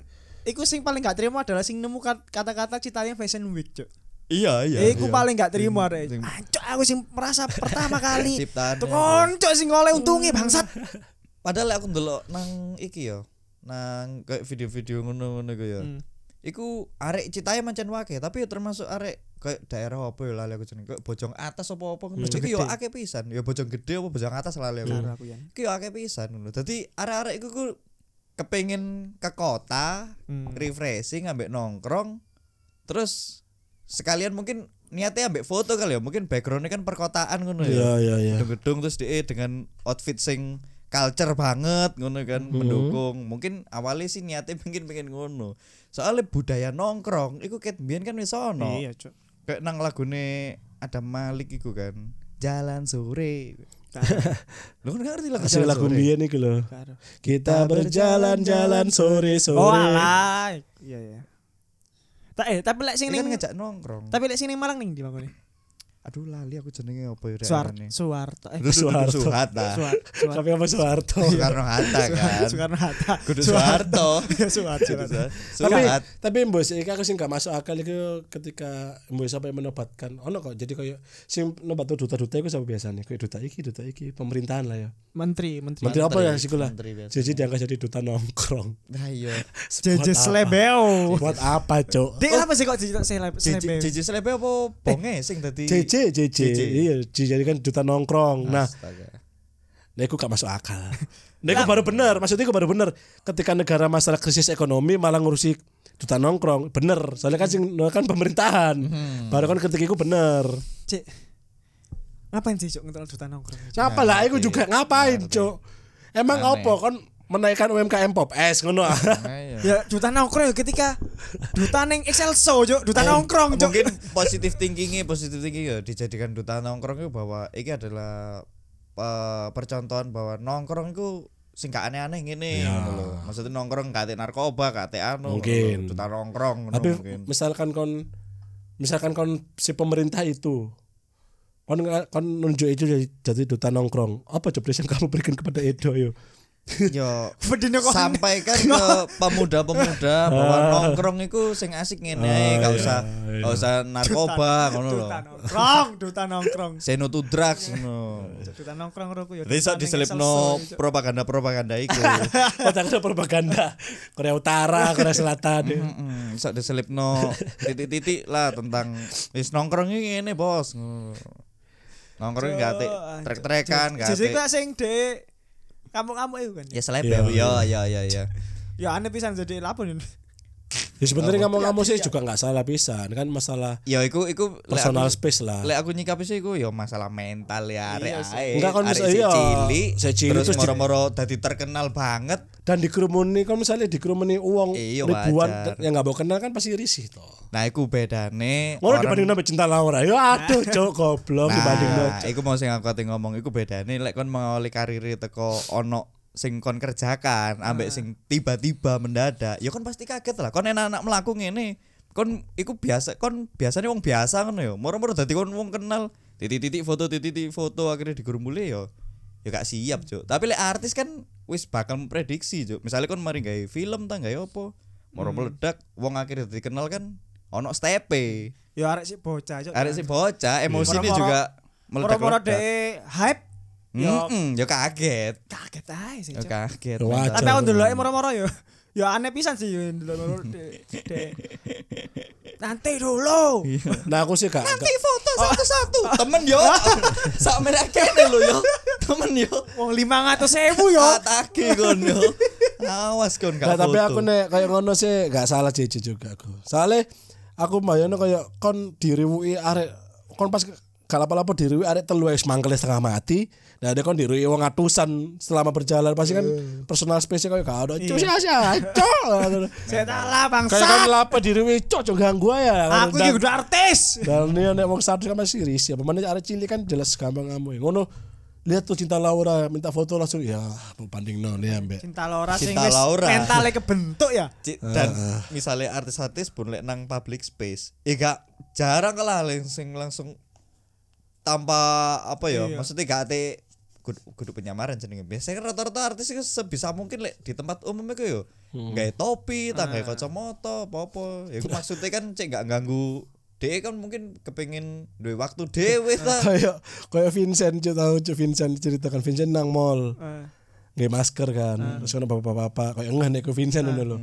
S2: Iya, Iku sing paling gak terima adalah sing nemu kat- kata-kata citanya fashion week cuk.
S1: Iya, iya.
S2: Iku paling gak terima arek. Ah, cuk aku sing merasa pertama
S1: [laughs]
S2: kali.
S1: Ciptaan. ya.
S2: Tukon cuk sing oleh untunge
S1: Hmm.
S2: bangsat.
S1: Padahal aku ndelok nang iki ya. Nang kayak video-video ngono-ngono ku ya.
S2: Hmm.
S1: Iku arek citae mancen wake, tapi ya termasuk arek kayak daerah apa ya lali aku jeneng kayak bojong atas apa-apa ngono. Iku ya akeh pisan. Ya bojong gede apa bojong atas lali aku.
S2: Karo aku yan.
S1: Iku ya akeh pisan ngono. Dadi arek-arek iku ku kepengin ke kota,
S3: Hmm.
S1: refreshing ambek nongkrong. Terus sekalian mungkin niatnya ambek foto kali ya. Mungkin backgroundnya kan perkotaan ngono ya.
S3: iya iya iya
S1: gedung-gedung terus dia dengan outfit sing culture banget ngono kan
S3: Hmm.
S1: mendukung mungkin awalnya sih niatnya [laughs] mungkin pengen ngono soalnya budaya nongkrong iku ket biyen kan wis ono
S2: Iya cuk.
S1: kayak nang lagune ada Malik iku kan jalan sore [laughs] lu kan nggak ngerti lagu
S3: Hasil
S1: jalan
S2: Iya.
S3: lagu
S1: sore
S3: biyen iku lho
S2: Karo.
S3: Kita berjalan-jalan sore-sore.
S2: Oh alah. Iya iya. Ta eh tapi lek sing
S1: Ini kan
S2: ning
S1: ngejak nongkrong
S2: tapi lek sing ning Malang ning di bangone.
S1: Aduh lali aku jenenge apa ya
S2: Suar
S1: daerahnya?
S2: Suwarto eh
S1: Duh, duh, duh,
S3: Soeharto.
S1: Suhatta.
S2: Suar Suar
S3: Tapi apa
S1: Oh,
S3: Soeharto?
S2: Iya.
S1: Soekarno Hatta kan.
S2: Soekarno Hatta
S1: Kudu
S3: [laughs]
S1: Soeharto.
S2: ya Suwarto Suwarto.
S3: tapi
S1: Suhatta.
S3: tapi mbok sih aku sing gak masuk akal itu ketika mbok sampai menobatkan ono kok jadi kayak sing nobat duta-duta iku sapa biasane kayak duta iki duta iki pemerintahan lah ya
S2: menteri menteri
S3: menteri apa ya sih lah
S1: menteri biasa.
S3: jadi diangkat jadi duta nongkrong
S1: Nah iya.
S2: Jeje
S3: Buat apa?
S2: Slebeo
S3: buat apa cok
S2: Dek apa sih kok Jeje Slebeo
S1: JJ JJ Slebe apa
S3: Eh,
S1: bonge sing dadi
S3: JJ JJ
S1: JJ.
S3: iya dijadikan duta nongkrong nah
S1: Astaga.
S3: Nah, itu gak masuk akal. Nah, itu baru bener. Maksudnya itu baru bener. Ketika negara masalah krisis ekonomi malah ngurusi duta nongkrong, bener. Soalnya kan sing kan pemerintahan. Baru kan ketika itu bener.
S2: Cek. Ngapain sih cok ngetel duta nongkrong? Cok?
S3: Ngapa
S1: Nah,
S3: lah? Aku juga ngapain, cok? Emang
S1: Aneh.
S3: apa kon menaikkan UMKM pop es ngono?
S1: Nah, iya.
S2: Ya duta nongkrong ya ketika duta neng Excel show cok, duta nongkrong cok.
S1: Oh, Mungkin positif thinkingnya positif thinking ya dijadikan duta nongkrong itu bahwa ini adalah eh, percontohan bahwa nongkrong itu sing gak aneh-aneh ngene ngono lho. Maksudnya nongkrong gak ate narkoba, gak ate anu. ngono lho.
S3: Mungkin.
S1: duta nongkrong ngono
S3: [laughs] Tapi
S1: mungkin.
S3: misalkan kon misalkan kon si pemerintah itu kon kon nunjuk itu jadi, jadi duta nongkrong. Apa jobdesk yang kamu berikan kepada Edo
S1: [laughs]
S3: yo?
S1: Yo
S2: Bedine kok
S1: sampaikan ke pemuda-pemuda bahwa nongkrong itu sing asik ngene ae, gak usah gak usah narkoba ngono lho.
S2: duta nongkrong, duta nongkrong.
S1: Say no to drugs ngono.
S2: Cok, Duta nongkrong roku ya.
S1: Desa
S2: duta neng
S1: diselipno
S2: Excel show, cok.
S1: propaganda-propaganda iku.
S3: Otak ada propaganda Korea Utara, Korea Selatan.
S1: Heeh, iso diselipno titik-titik lah tentang wis nongkrong iki ngene, Bos. Ngono. Nongkrong gak ati trek-trekan gak
S2: Jadi
S1: ati.
S2: kok sing de kamu-kamu itu kan.
S1: Ya seleb
S3: Iya,
S1: ya, ya ya ya.
S2: Ya aneh pisan jadi lapun.
S3: Ya sebenarnya ngomong-ngomong sih juga nggak salah pisan kan masalah
S1: Ya iku iku Nah, lek
S3: personal
S1: aku-
S3: space lah.
S1: Lek aku nyikapi sih iku ya masalah mental ya arek ae.
S3: Enggak, kan
S1: Arek
S3: bisa-
S1: sih
S3: iya.
S1: cilik,
S3: Sih cilik,
S1: terus
S3: terus di-
S1: moro-moro dadi terkenal banget.
S3: Dan dikerumuni kalau misalnya dikerumuni uang
S1: Iya,
S3: ribuan
S1: wajar.
S3: yang nggak mau kenal kan pasti risih toh.
S1: Nah, iku bedane
S3: Ngono
S1: orang-
S3: dibanding nambah cinta Laura. Ya
S1: [laughs]
S3: aduh cok goblok dibanding
S1: Nah, iku mau sing aku ati ngomong iku bedane lek kon mengawali karir teko ono sing kon kerjakan ambek sing tiba-tiba mendadak. Ya kon pasti kaget lah. Kon enak-enak mlaku ngene. Kon iku biasa kon biasanya wong biasa ngono ya. Moro-moro dadi kon wong kenal titik-titik foto titik-titik foto akhirnya digrumbuli ya. Ya gak siap, Cuk. Tapi lek artis kan wis bakal memprediksi, Cuk. Misalnya kon mari gawe film ta gawe apa. Moro meledak wong akhirnya dikenal kan ono stepe.
S2: Ya arek sih bocah cok.
S1: Arek sih bocah,
S3: Iya.
S1: emosinya
S2: Moro-moro-
S1: juga
S2: Moro-moro
S1: meledak-ledak.
S2: de hype.
S1: Hmm?
S2: Ya
S1: Mm-mm, Yo kaget.
S2: kaget ae sih
S1: Yo
S2: cok.
S1: kaget.
S3: Yo
S1: mental.
S3: wajar.
S2: Tapi aku Nah, dulu moro-moro ya. Ya aneh pisan sih ya dulu Nanti dulu.
S3: Nah aku sih gak,
S1: Kan
S3: gak-
S1: foto
S2: Oh.
S1: satu-satu. Temen
S2: [laughs]
S1: yo. Sak merah kene lho yo. Temen yo.
S2: Wong 500.000 yo.
S1: Atake kon yo. Awas kon
S3: Nah,
S1: gak
S3: tapi
S1: foto.
S3: aku nek kayak ngono sih gak salah JJ juga aku. Soalnya aku mbayangno kayak kon diriwui arek kon pas gak apa-apa diriwui arek telu wis mangkel setengah mati. Nah, ada kon diriwui wong atusan selama berjalan pasti kan
S1: Iya.
S3: personal space-nya kayak gak ada. Cuk sih aja. Cuk.
S1: [laughs]
S2: Saya salah
S3: Kayak kon
S2: bangsa.
S3: lapa diriwui cuk cuk ganggu ya.
S2: Aku iki udah artis.
S3: Dan ini nek wong status kan masih risih. Apa meneh arek cilik kan jelas gampang ngamu. Ngono lihat tuh cinta Laura minta foto langsung ya banding non ya mbak
S2: Cinta Laura sing
S1: Cinta
S2: wis
S1: Laura.
S2: mentale kebentuk ya.
S1: Ci- dan misalnya artis-artis pun lek nang public space, ya gak jarang lah langsung langsung tanpa apa ya, maksudnya gak ate kudu, kudu penyamaran jenenge. Biasanya kan rata-rata artis itu sebisa mungkin lek di tempat umum iku yo. Gawe topi, tak gawe kacamata, apa-apa. Ya iku maksudnya kan cek gak ganggu Dia kan mungkin kepengin duwe waktu dhewe
S3: [laughs]
S1: ta.
S3: [laughs] kayak kayak Vincent cuy tahu cuy Vincent ceritakan Vincent nang mall
S2: Eh,
S3: nggak masker kan terus ada bapak-bapak kayak enggak nek
S2: Eh.
S3: ke Vincent udah lo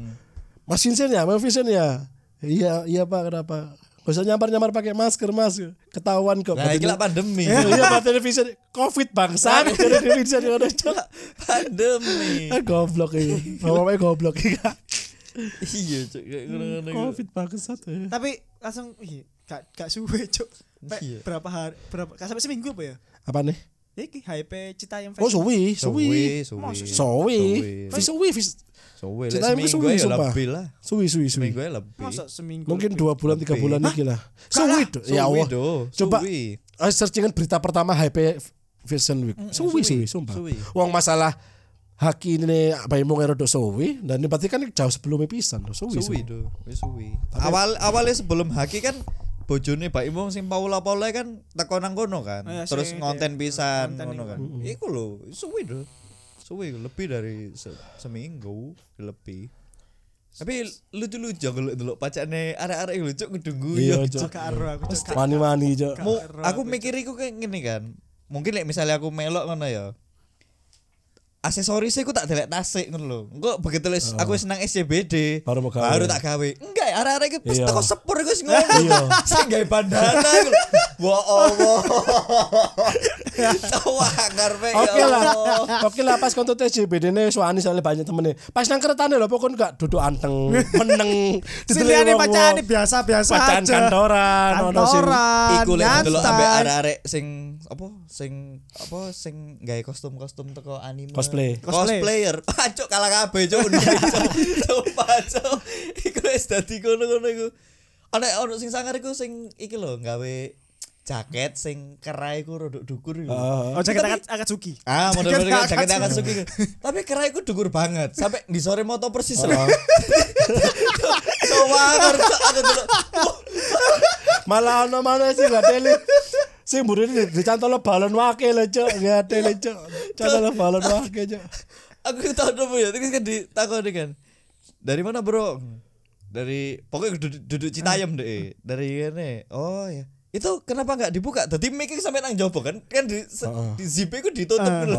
S3: Mas Vincent ya Mas Vincent ya iya iya pak kenapa Gak usah nyamar-nyamar pakai masker mas Ketahuan kok
S1: Nah, iki
S3: Batin-
S1: lah pandemi.
S3: [laughs] Iya batin Vincent Covid bangsa
S1: [laughs]
S3: Jadi Vincent udah coba
S1: pandemi.
S3: Goblok ini Ngomongnya goblok ini
S1: Iya, cuk. kayak ngono-ngono iku.
S3: Covid bangsa tuh
S2: Tapi langsung ih, gak gak suwe cuk. Pe-
S1: Iya.
S2: Berapa hari berapa gak sampai seminggu apa ya?
S3: Apa nih?
S2: Ya iki hype cita yang
S3: Oh suwi Suwi
S1: suwi.
S3: Suwi
S1: Suwi.
S3: Suwi Vis-
S1: Suwe lek
S3: Ceritanya
S1: seminggu
S3: suwi,
S1: ya
S3: sumpah.
S1: lebih lah.
S3: Suwi suwi suwi
S1: Seminggu ya lebih.
S2: Masa seminggu.
S3: Mungkin dua bulan tiga
S1: Lebih.
S3: bulan lagi lah Suwi tuh Ya
S1: Suwi
S3: Allah
S1: do,
S3: Coba
S1: suwi.
S3: eh, searchingan berita pertama HP Fashion Week. Suwi suwi sumpah.
S1: Mm, suwi.
S3: Wong masalah haki ini nih bayi mau ngerodok suwi dan ini berarti kan jauh sebelumnya pisan loh suwi.
S1: Suwi
S3: suwi.
S1: do, wis suwi. Awal awalnya sebelum haki kan bojone Pak Imong sing Paula Paula kan teko nang kono kan.
S2: Oh, iya,
S1: Terus
S2: sih,
S1: ngonten pisan
S2: ngonten
S1: ngono
S2: iku.
S1: kan. Iku lho, suwi lho. Suwi lebih dari se- seminggu lebih. Tapi lucu-lucu kalau delok pacane arek-arek iku lucu ngedunggu
S3: Iya,
S1: ya.
S3: Cok.
S2: Cok karo aku cok gak-
S3: Wani-wani, Cok.
S1: Mu,
S2: Kak Ro,
S1: aku mikir iku kayak gini kan. Mungkin like, misalnya aku melok ngono ya. Aksesorisnya aku tak delek tasik ngono lho. Engko begitu les, aku senang SCBD.
S3: Oh. Baru mau gawe.
S1: Baru tak gawe. Enggak, arek-arek iki pas
S3: Iya.
S1: teko sepur iku wis ngono. [laughs] Iya. Sing gawe bandana iku. lho. Wa
S3: [laughs]
S1: Allah. Cowok ngarepe ya.
S3: Oke lah,
S1: Allah.
S3: oke lah pas kontot SJBD ini suami soalnya banyak temennya. Pas nang keretane lho pokoknya gak duduk anteng,
S2: [laughs]
S3: meneng.
S2: Sing
S3: diteliti
S2: liyane
S3: wong-wong.
S2: pacane biasa-biasa
S3: Pacaran
S2: aja.
S3: kantoran, ono sing-
S2: Kantoran,
S1: Iku lek delok
S2: nyantai.
S1: ambek arek-arek sing apa sing apa sing gawe kostum-kostum teko anime.
S3: Cosplay.
S2: Cosplay.
S1: Cosplayer. [laughs] Acuk kalah kabeh cuk.
S2: [laughs]
S1: Sumpah cuk. Iku wis dadi ngono-ngono iku. Ana ono sing sangar iku sing iki lho gawe jaket sing kerai iku rodok dukur iku.
S3: Heeh.
S2: Oh jaket akat akat suki.
S1: Ah, model model
S2: Jaket
S1: jaket akan
S2: Akatsuki.
S1: suki. Tapi kerai ku dukur banget. Sampai di sore moto persis loh. [laughs] Cowok aku dulu.
S3: Malah ono mana sih gak teli. Sing mburi ini dicantol balon wake lho, Cok. Gak teli, Cok. Cantol balon wake, Cok.
S1: aku tahu dulu ya terus kan ditakoni kan dari mana bro dari pokoknya duduk, duduk citayam deh dari ini oh ya itu kenapa nggak dibuka tadi making sampai nang jopo kan kan di, se- di zipnya itu ditutup dulu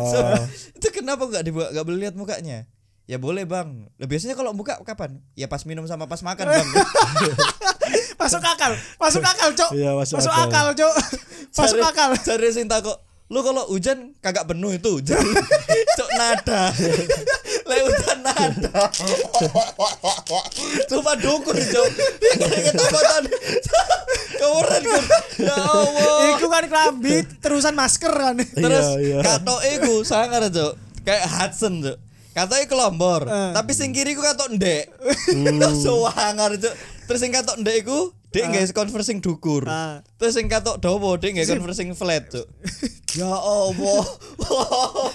S1: itu kenapa nggak dibuka nggak boleh lihat mukanya ya boleh bang Lah, biasanya kalau buka kapan ya pas minum sama pas makan bang
S2: Masuk akal. Masuk akal, Cok.
S3: Iya, masuk
S2: Masuk
S3: akal.
S2: akal, Cok.
S3: [laughs]
S2: Masuk
S1: Cari-
S2: akal.
S1: cari sing takok lu kalau hujan kagak penuh itu [laughs] hujan cok nada [laughs] lek hujan nada [laughs] cuma dukur cok kita takotan [laughs] kewuran ya allah
S2: Iku kan kelambi terusan masker kan.
S1: terus
S3: Iya, iya.
S1: kato iku sangar cok kayak Hudson cok kato iku kelombor
S2: Eh.
S1: tapi sing kiri ku kato ndek [laughs] suwangar cok terus sing kato ndek iku dia nggak conversing dukur
S2: Ah.
S1: terus sing kato dawa dia nggak conversing flat cok ya allah [laughs]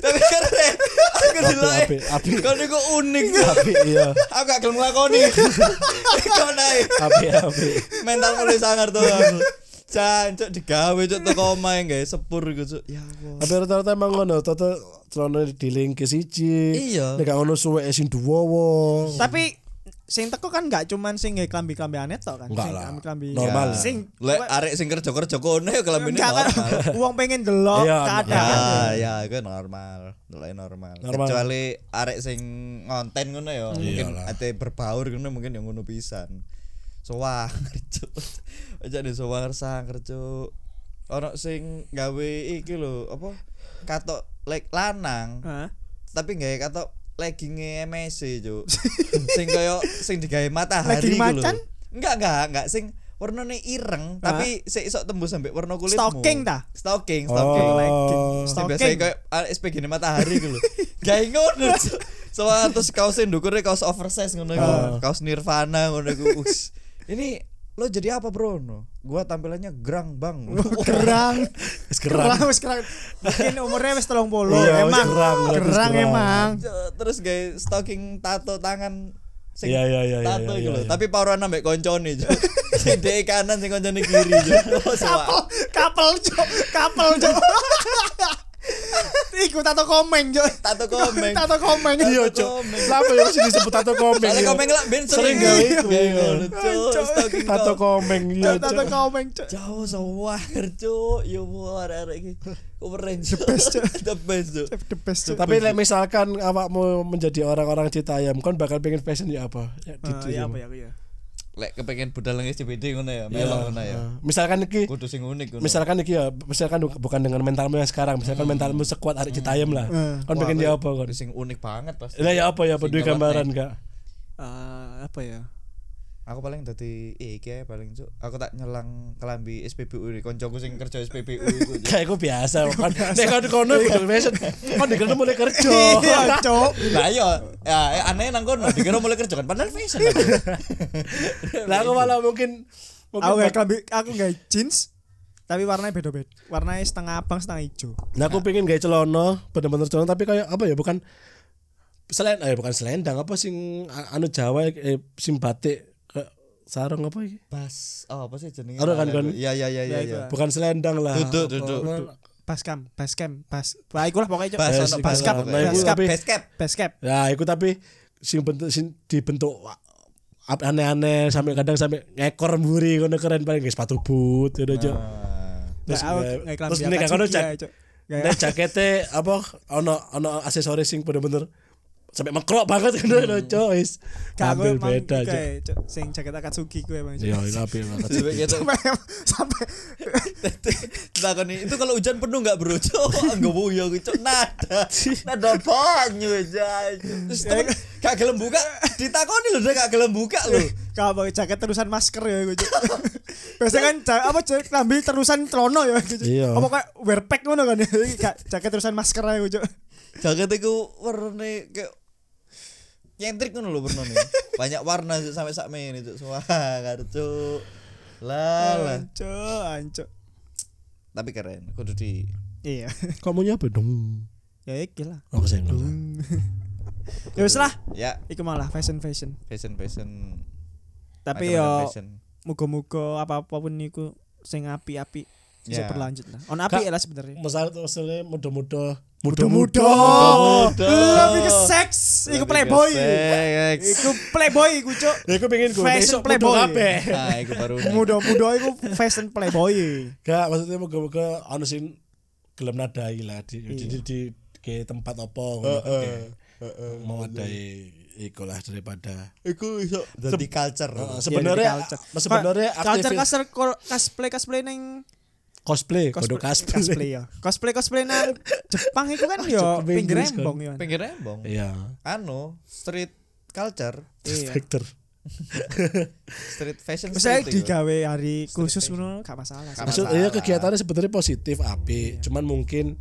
S1: tapi keren aku delok
S3: apik, apik.
S1: kau niku unik cok
S3: Tapi iya,
S1: aku gak gelem nglakoni [laughs] kau naik
S3: api api.
S1: mental mulai sangar tuh aku Cancuk digawe cuk teko omahe guys sepur iku cuk ya Allah
S3: Tapi rata-rata emang ngono, toto celana dilingkis siji.
S1: Iya.
S3: Nek gak ngono suwe sing duwowo.
S2: Tapi sing teko kan gak cuman sing nge klambi-klambi aneh tok kan.
S3: Enggak
S2: Sing
S3: lah.
S2: klambi-klambi.
S3: Normal.
S2: Sing
S1: lek arek sing kerja-kerja kono ya kelambine
S2: Enggak kan, [laughs]
S1: normal.
S2: uang pengen delok
S3: Iya,
S1: Ya,
S2: keadaan.
S1: ya, itu normal, Deloknya normal.
S3: Normal.
S1: Kecuali arek sing ngonten ngono ya, mungkin ate berbaur ngono mungkin yang ngono pisan. [laughs] Soang cuk. Aja nih soang sangker cuk. Ono sing gawe iki lho, apa? Katok lek lanang.
S2: Hah?
S1: tapi nggak ya, kata leggingnya MSC cuk [laughs] sing koyo sing digawe matahari gitu iku
S2: Legging
S1: lho.
S2: macan?
S1: enggak enggak enggak sing warnane ireng tapi sik iso tembus sampai warna kulitmu
S2: Stocking Ah. ta?
S1: stalking stalking
S3: Oh.
S1: Sing biasa
S2: Stocking.
S1: koyo ah, SPG ne matahari iku lho gawe ngono Cuk. soalnya terus kaos ndukure kaos oversize ngono iku
S2: Ah.
S1: kaos Nirvana ngono iku Us. ini lo jadi apa bro no gua tampilannya gerang bang
S2: [laughs] Gerang.
S3: Wis gerang.
S2: Gerang wis gerang. Mungkin umurnya wis 30
S3: Iya, wis
S2: emang.
S3: gerang, wis gerang.
S2: Gerang emang.
S1: Cuk, terus gay stalking tato tangan sing
S3: Iya, iya, iya, iya,
S1: tato
S3: iya,
S1: iku lho
S3: iya.
S1: tapi paruan ambek koncone [laughs] Cuk. sing dek kanan sing koncone kiri
S3: [laughs]
S1: Cuk. Oh, sewa.
S2: Kapel, kapel, Cok. Kapel, Cok. [laughs] Iku tato komeng, Cok.
S1: tato komeng
S2: Tato komeng.
S3: Iya,
S1: Tato
S3: Cok.
S1: komeng.
S3: Kenapa ya sing disebut tato komeng?
S1: Soalnya
S3: iya?
S1: komeng lah ben
S3: Sering
S1: sering
S3: gawe iku,
S1: Gawe
S3: iya.
S1: ngono, Cuk.
S2: Cuk.
S1: Stalking
S3: Tato
S1: kok.
S3: komeng iya,
S2: Tato
S3: Cok.
S2: komeng, Cok.
S1: jauh sawar Cuk. yo war arek Ya, iki keren Cuk. [laughs] the best Cok.
S2: The best, Cok.
S3: Tapi lek misalkan awakmu menjadi orang-orang Citayam, kon bakal pengen fashion ya apa?
S2: Ah,
S3: Ya gitu.
S2: iya,
S3: ya.
S2: apa ya, aku ya.
S1: lek kepengen budal nang SCBD ngono ya melok ngono ya
S3: Nah, Misalkan iki
S1: kudu sing unik ngono
S3: misalkan iki ya, misalkan du- bukan dengan mentalmu yang sekarang, misalkan
S2: Ah.
S3: mentalmu sekuat arek Citayam lah. Kon
S1: Wah,
S3: pengen
S1: aku-
S3: ya apa kon?
S1: sing unik banget pasti
S3: Lah ya apa ya apa duwe
S1: Sing
S3: gambaran gak?
S2: Ah, apa ya?
S1: aku paling dadi eh, iki ae paling cuk aku tak nyelang kelambi SPBU iki koncoku sing kerja SPBU iku Cuk.
S3: Kayak gue biasa, kan. Nek kon
S2: [laughs]
S3: kono kudu fashion. Kon dikene mulai kerja.
S2: Iya, Cok.
S1: [laughs] lah iya ya eh, aneh nang kono dikira mulai kerja kan padahal [laughs] fashion aku.
S3: Lah aku malah mungkin
S2: Aku
S3: mungkin
S2: gak klambi, aku gak jeans. Tapi warnanya beda-beda. Warnanya setengah abang, setengah hijau.
S3: Nah aku pengen gaya celana Bener-bener celana Tapi kayak apa ya Bukan Selen eh, Bukan selendang Apa sing a- Anu Jawa eh, Sing batik ke- sarung apa iki?
S1: Bas, oh, apa sih jenenge?
S3: Aduh, kan, kan.
S1: Ya ya ya ya ya.
S2: Ya, itu.
S3: Bukan selendang lah.
S1: Duduk duduk.
S2: Bascam, bascam, bas. Wah, ikulah pokoknya cok.
S1: Bas
S3: Eh,
S1: ono
S3: sih,
S1: bas cap,
S3: kalau-
S2: nah,
S1: bas
S2: iku
S1: cap,
S3: tapi-
S1: bas cap.
S2: Bascam.
S3: Ya, itu tapi sing bentuk sing dibentuk wa- ap- aneh-aneh sampai kadang sampai ngekor mburi ngono keren paling kayak sepatu boot ngono aja.
S1: Ah.
S3: Terus
S2: Nah, aku
S3: nggak-
S2: nggak iklan
S3: terus
S2: biar
S3: ini
S2: kaji
S3: kakak
S2: dia,
S3: cak.
S2: Cok. Nggak-
S3: Nek jakete apa ono ono aksesoris sing bener-bener sampai mengkrok banget [laughs] kan ono
S2: Nggak,
S3: cois.
S2: aku
S3: Tampil
S2: emang
S3: beda
S2: iki,
S3: aja.
S2: kayak, Cok, sing jaket Akatsuki gue emang. Cok.
S3: Ya, itu apil banget.
S1: Sampai gitu.
S2: [laughs]
S1: [laughs]
S2: Sampai
S1: Takoni, itu kalau hujan penuh nggak bro? [laughs] Cok, nggak mau ya, cok [laughs] nada, nada banyu aja. Terus temen gak gelem buka, ditakoni loh, dia gak gelem buka loh.
S2: kalau pakai jaket terusan masker ya gue. Cok. Biasanya kan ja- apa jaket ambil terusan celana ya gue. Cok.
S3: Iya.
S2: Apa kayak wear pack ngono kan ya. Iki gak- Jaket terusan masker aja gitu. gue. Cok.
S1: Jaket iku warnane kayak nyentrik ngono lho warnane. Banyak warna Cuk, sampai sak ini cuk. Wah, kartu. Lala.
S2: Anco, anco.
S1: Tapi keren, kudu di
S2: Iya. [laughs]
S3: Kamu nyapa dong?
S2: Ya iki
S1: [laughs]
S2: lah.
S3: Oh, saya enggak.
S2: Hmm. ya wis lah.
S1: ya
S2: Iku malah fashion fashion.
S1: fashion fashion.
S2: Tapi
S1: macam-macam
S2: yo
S1: fashion.
S2: muga-muga apa apapun niku sing api-api
S1: Ya.
S2: bisa berlanjut lah. On api ya
S3: Kak-
S2: lah sebenarnya.
S3: Masalah tuh usulnya muda-muda.
S2: Muda-muda.
S1: Muda-muda.
S2: Lebih ke seks, iku playboy.
S1: Seks.
S2: Iku playboy iku cuk.
S3: Ya, aku pengen gue
S2: Fashion
S3: besok
S2: playboy.
S3: muda kabeh.
S1: Nah, iku
S2: [laughs]
S1: baru.
S2: Muda-muda iku fashion playboy.
S3: Gak maksudnya moga-moga ono sing gelem nadai lah di di, di, di ke tempat apa ngono mau adai iku lah daripada
S1: Iku iso dadi culture.
S3: Eh,
S2: Iya,
S3: sebenarnya
S2: jadi culture.
S3: sebenarnya
S2: Pak, culture
S3: aktivis
S2: culture kol- cosplay cosplay neng
S3: cosplay kudu cosplay,
S2: cosplay ya cosplay cosplay nang Jepang itu kan yo
S3: Jepang
S2: pinggir
S3: Inggris kan.
S2: rembong ya. yo
S1: Pinggir rembong.
S3: iya
S1: Anu, street culture,
S2: iya
S3: spekter
S1: street fashion
S2: misalnya
S1: street. iku.
S2: digawe hari khusus ngono gak masalah sih.
S1: Gak
S3: maksud iya kegiatannya sebenarnya positif api
S1: Iya.
S3: cuman mungkin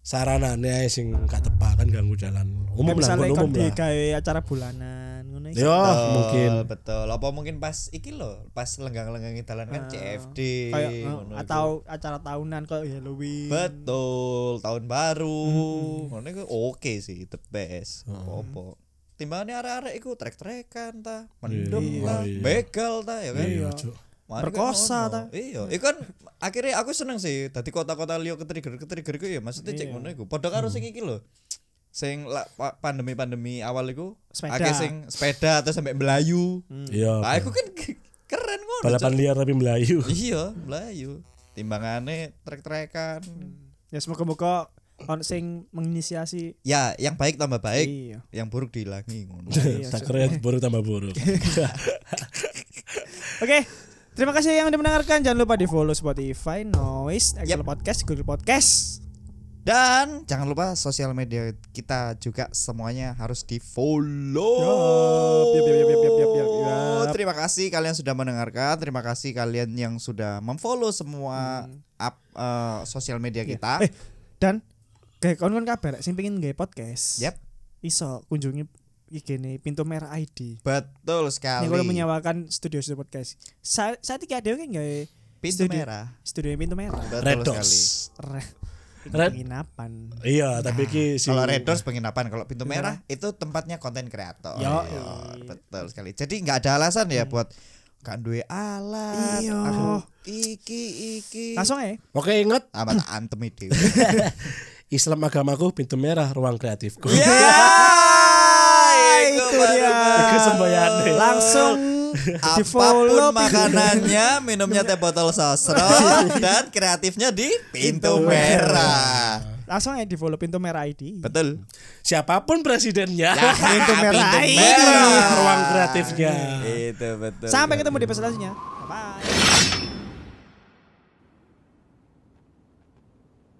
S3: saranannya ae sing gak tepat kan ganggu jalan umum lah
S2: misalnya
S3: bukan
S2: kon
S3: umum lah
S2: digawe acara bulanan ngono iki.
S3: yo
S1: Betul,
S3: mungkin
S1: betul. Apa mungkin pas iki loh, pas lenggang-lenggang dalan kan CFD
S2: Ah.
S3: Iya,
S2: Kayak, eh,
S1: ngono iku.
S2: atau acara tahunan kayak Halloween
S1: betul tahun baru.
S3: Hmm.
S1: Ngono iku oke sih the best. Apa-apa. Timbangannya arek-arek iku trek-trekan ta, mendem
S3: Iya.
S1: ta,
S3: Oh, iya.
S1: begal ta ya kan.
S3: iya Cuk.
S1: Mari
S2: Perkosa
S1: kan ngono. Iya, iku kan akhirnya aku seneng sih dadi kota-kota liyo ketrigger ketrigger iku ya maksudnya
S3: Iya.
S1: cek ngono iku. Padha karo
S3: Hmm.
S1: sing iki lho. Sing la- pa- pandemi-pandemi awal iku
S2: Sepeda.
S1: akeh sing sepeda terus sampai Melayu.
S3: iya
S1: Ah iku kan ke- keren ngono.
S3: balapan liar tapi melayu [laughs]
S1: Cok. kan Iya, Melayu. Timbangannya trek-trekan.
S2: ya semoga moga kon sing menginisiasi
S1: Ya, yang baik tambah baik,
S2: iya
S1: yang buruk dihilangi ngono.
S2: Iya,
S3: tak keren buruk tambah buruk
S1: Iya,
S2: Oke, terima kasih yang udah mendengarkan. Jangan lupa di follow Spotify, Noise, Apple
S1: Yap.
S2: Podcast, Google Podcast.
S1: Dan jangan lupa sosial media kita juga semuanya harus di follow.
S2: Yup, yup, yup, yup, yup, yup, yup, yup.
S1: Terima kasih kalian sudah mendengarkan. Terima kasih kalian yang sudah memfollow semua up, eh, sosial media kita.
S2: Hmm. Eh, dan kayak kawan-kawan kabar, sing pengen nggak podcast.
S1: Yap.
S2: Iso kunjungi IG nih pintu merah ID.
S1: Betul
S2: Ini
S1: sekali.
S2: kalau menyewakan studio studio podcast. Sa saat ini ada yang nggak
S1: Pintu
S2: studio-
S1: merah.
S2: Studio yang pintu merah.
S1: Betul sekali.
S3: redos
S2: Re-
S3: Red-
S2: Penginapan.
S3: Iya, tapi ki si
S1: Nah, Kalau Red Doors penginapan, kalau pintu merah itu tempatnya konten kreator.
S2: Iya. Yo. Hmm.
S1: Iya, betul sekali. Jadi nggak ada alasan ya buat gak duwe alat.
S2: Iya.
S1: Aduh, iki iki.
S2: Langsung ya.
S3: Oke, ingat
S1: apa tak antem [laughs]
S2: [laughs]
S1: itu.
S3: Islam agamaku pintu merah ruang kreatifku.
S2: Iya,
S1: Iya.
S3: [laughs]
S2: itu dia.
S3: Iku sembayane.
S2: Langsung di follow
S1: Apapun makanannya, minumnya teh botol
S2: [laughs]
S1: sosro
S2: Iya.
S1: dan kreatifnya di pintu merah.
S2: Langsung ya di follow pintu merah ID.
S1: Betul.
S3: Siapapun presidennya.
S2: [laughs] Pintu merah Iya.
S1: Pintu
S2: ID.
S1: merah.
S3: Ruang kreatifnya.
S1: Itu betul.
S2: Sampai ketemu di episode selanjutnya. Bye.